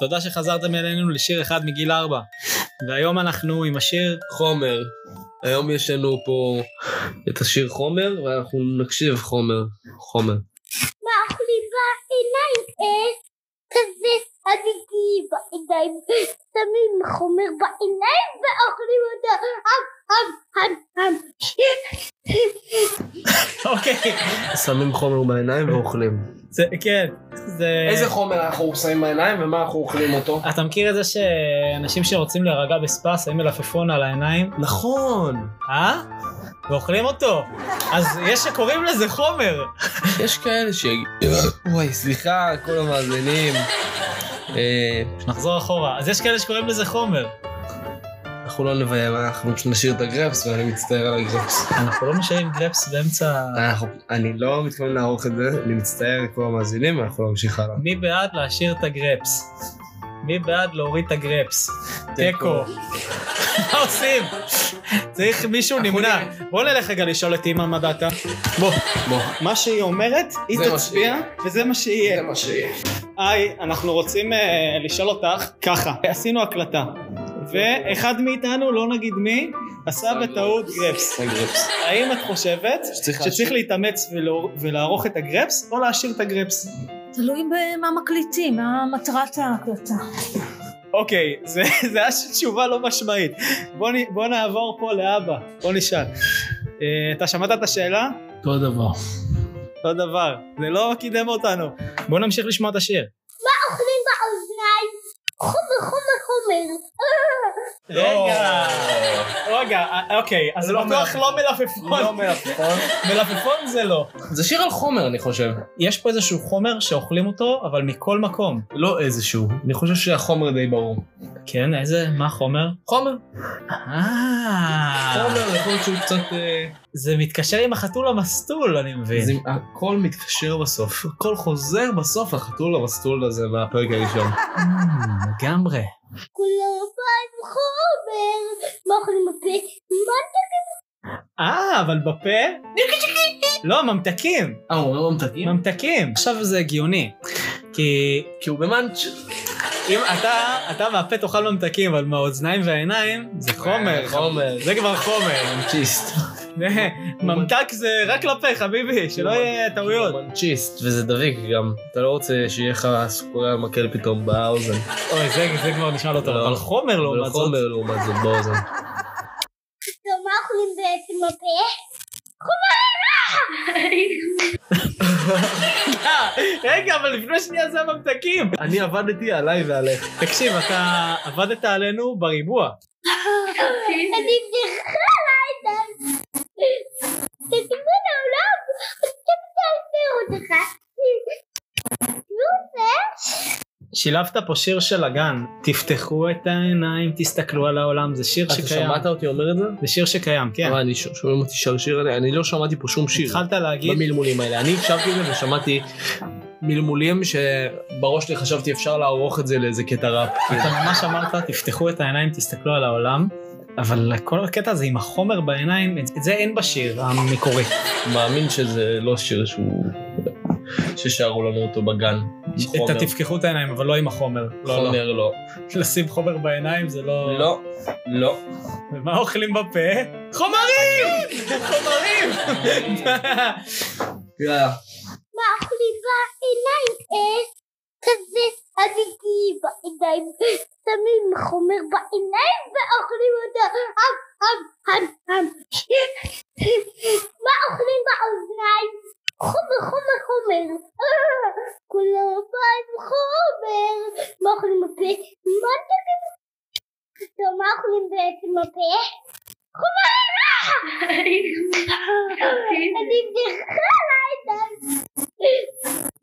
תודה שחזרתם אלינו לשיר אחד מגיל ארבע. והיום אנחנו עם השיר חומר. היום יש לנו פה את השיר חומר, ואנחנו נקשיב חומר. חומר. מחריבה עיניים, אה? כזה עדיתי בעיניים, שמים חומר בעיניים ואוכלים אותו. אמ, אמ, אמ, אמ. אוקיי. שמים חומר בעיניים ואוכלים. זה, כן, זה... איזה חומר אנחנו שמים בעיניים ומה אנחנו אוכלים אותו? אתה מכיר את זה שאנשים שרוצים להירגע בספא שמים מלפפון על העיניים? נכון. אה? ואוכלים אותו. אז יש שקוראים לזה חומר. יש כאלה ש... וואי, סליחה, כל המאזינים. אה, נחזור אחורה. אז יש כאלה שקוראים לזה חומר. אנחנו לא נביים, אנחנו נשאיר את הגרפס, ואני מצטער על הגרפס. אנחנו לא משאירים גלפס באמצע... אנחנו- אני לא מתכוון לערוך את זה, אני מצטער לכל המאזינים, ואנחנו נמשיך הלאה. מי בעד להשאיר את הגרפס? מי בעד להוריד את הגרפס? תיקו. תיקו. מה עושים? צריך מישהו אנחנו נמנע. נראה. בוא נלך רגע לשאול את אימא מה דעתה. בוא. בוא, מה שהיא אומרת, היא זה מה תצביע, וזה מה זה שיהיה. מה שיהיה. היי, אנחנו רוצים אה, לשאול אותך ככה. עשינו הקלטה. ואחד מאיתנו, לא נגיד מי, עשה שם בטעות גרפס. הגרפס. האם את חושבת שצריך שצריך להשאיר. להתאמץ ולא- ולערוך את הגרפס, או להשאיר את הגרפס? תלוי במה מקליטים, מה מטרת ההקלטה. אוקיי, זה, זה היה תשובה לא משמעית. בוא, נ, בוא נעבור פה לאבא, בוא נשאל. אה, אתה שמעת את השאלה? אותו דבר. לא דבר, זה לא קידם אותנו. בוא נמשיך לשמוע את השיר. אוכלים באוזניים, חומר, חומר, חומר. אה, רגע, רגע, אה, אוקיי, אז זה לא בטוח מלפפון. לא מלפפון. לא מלפפון. מלפפון זה לא. זה שיר על חומר, אני חושב. יש פה איזשהו חומר שאוכלים אותו, אבל מכל מקום. לא איזשהו. אני חושב שהחומר די ברור. כן, איזה, מה החומר? חומר. אה, חומר, יכול להיות שהוא קצת... אה, זה מתקשר עם החתול המסטול, אני מבין. זה- הכל מתקשר בסוף. הכל חוזר בסוף לחתול המסטול הזה מהפרק הראשון. אה, לגמרי. כולם פעם חומר, מה אוכלים בפה? מה אה, אבל בפה? לא, ממתקים. אה, הוא אומר ממתקים? ממתקים. עכשיו זה הגיוני. כי כי הוא במאנץ'. אם אתה, אתה מהפה תאכל ממתקים, אבל מהאוזניים והעיניים זה חומר. אה, חומר. זה כבר חומר. ממנצ'יסט. ממתק זה רק לפה, חביבי, שלא יהיה טעויות. הוא ממנצ'יסט, וזה דביק גם. אתה לא רוצה שיהיה לך סוכריה מקל פתאום באוזן. אוי, זה- זה כבר נשמע לא טוב. לא. אבל חומר לעומת זאת. חומר לעומת זאת באוזן. אוכלים- מה אוכלים בעצם בפה? אה, רגע, אבל לפני שנייה זה הממתקים. אני עבדתי עליי ועליך. תקשיב, אתה עבדת עלינו בריבוע. אני צריכה לעשות. תתקבל העולם, עכשיו תעביר אותך. שילבת פה שיר של הגן, תפתחו את העיניים, תסתכלו על העולם, זה שיר אתה שקיים. שמעת אותי אומר את זה? זה שיר שקיים, כן. מה, אני ש- שומעים אותי שרשיר עליה? אני לא שמעתי פה שום שיר. התחלת להגיד, במלמולים האלה. אני הקשבתי לזה ושמעתי מלמולים שבראש שלי חשבתי אפשר לערוך את זה לאיזה קטע ראפ. אתה ממש אמרת, תפתחו את העיניים, תסתכלו על העולם, אבל כל הקטע הזה עם החומר בעיניים, את זה אין בשיר המקורי. מאמין שזה לא שיר שהוא... ששרו לנו אותו בגן. את התפקחו את העיניים, אבל לא עם החומר. לא, לא. חומר לא. לשים חומר בעיניים זה לא... לא. לא. ומה אוכלים בפה? חומרים! חומרים! יאללה. מה אוכלים בעיניים? אה? כזה עדיתי בעיניים, שמים חומר בעיניים ואוכלים אותו. אמ, אמ, אמ, אמ. מה אוכלים באוזניים? חומר, חומר, חומר. אה, כולם פעם חומר. מה אוכלים בפה? מה אתה טוב, מה אוכלים בעצם בפה? חומר רע! אני צריכה לעשות.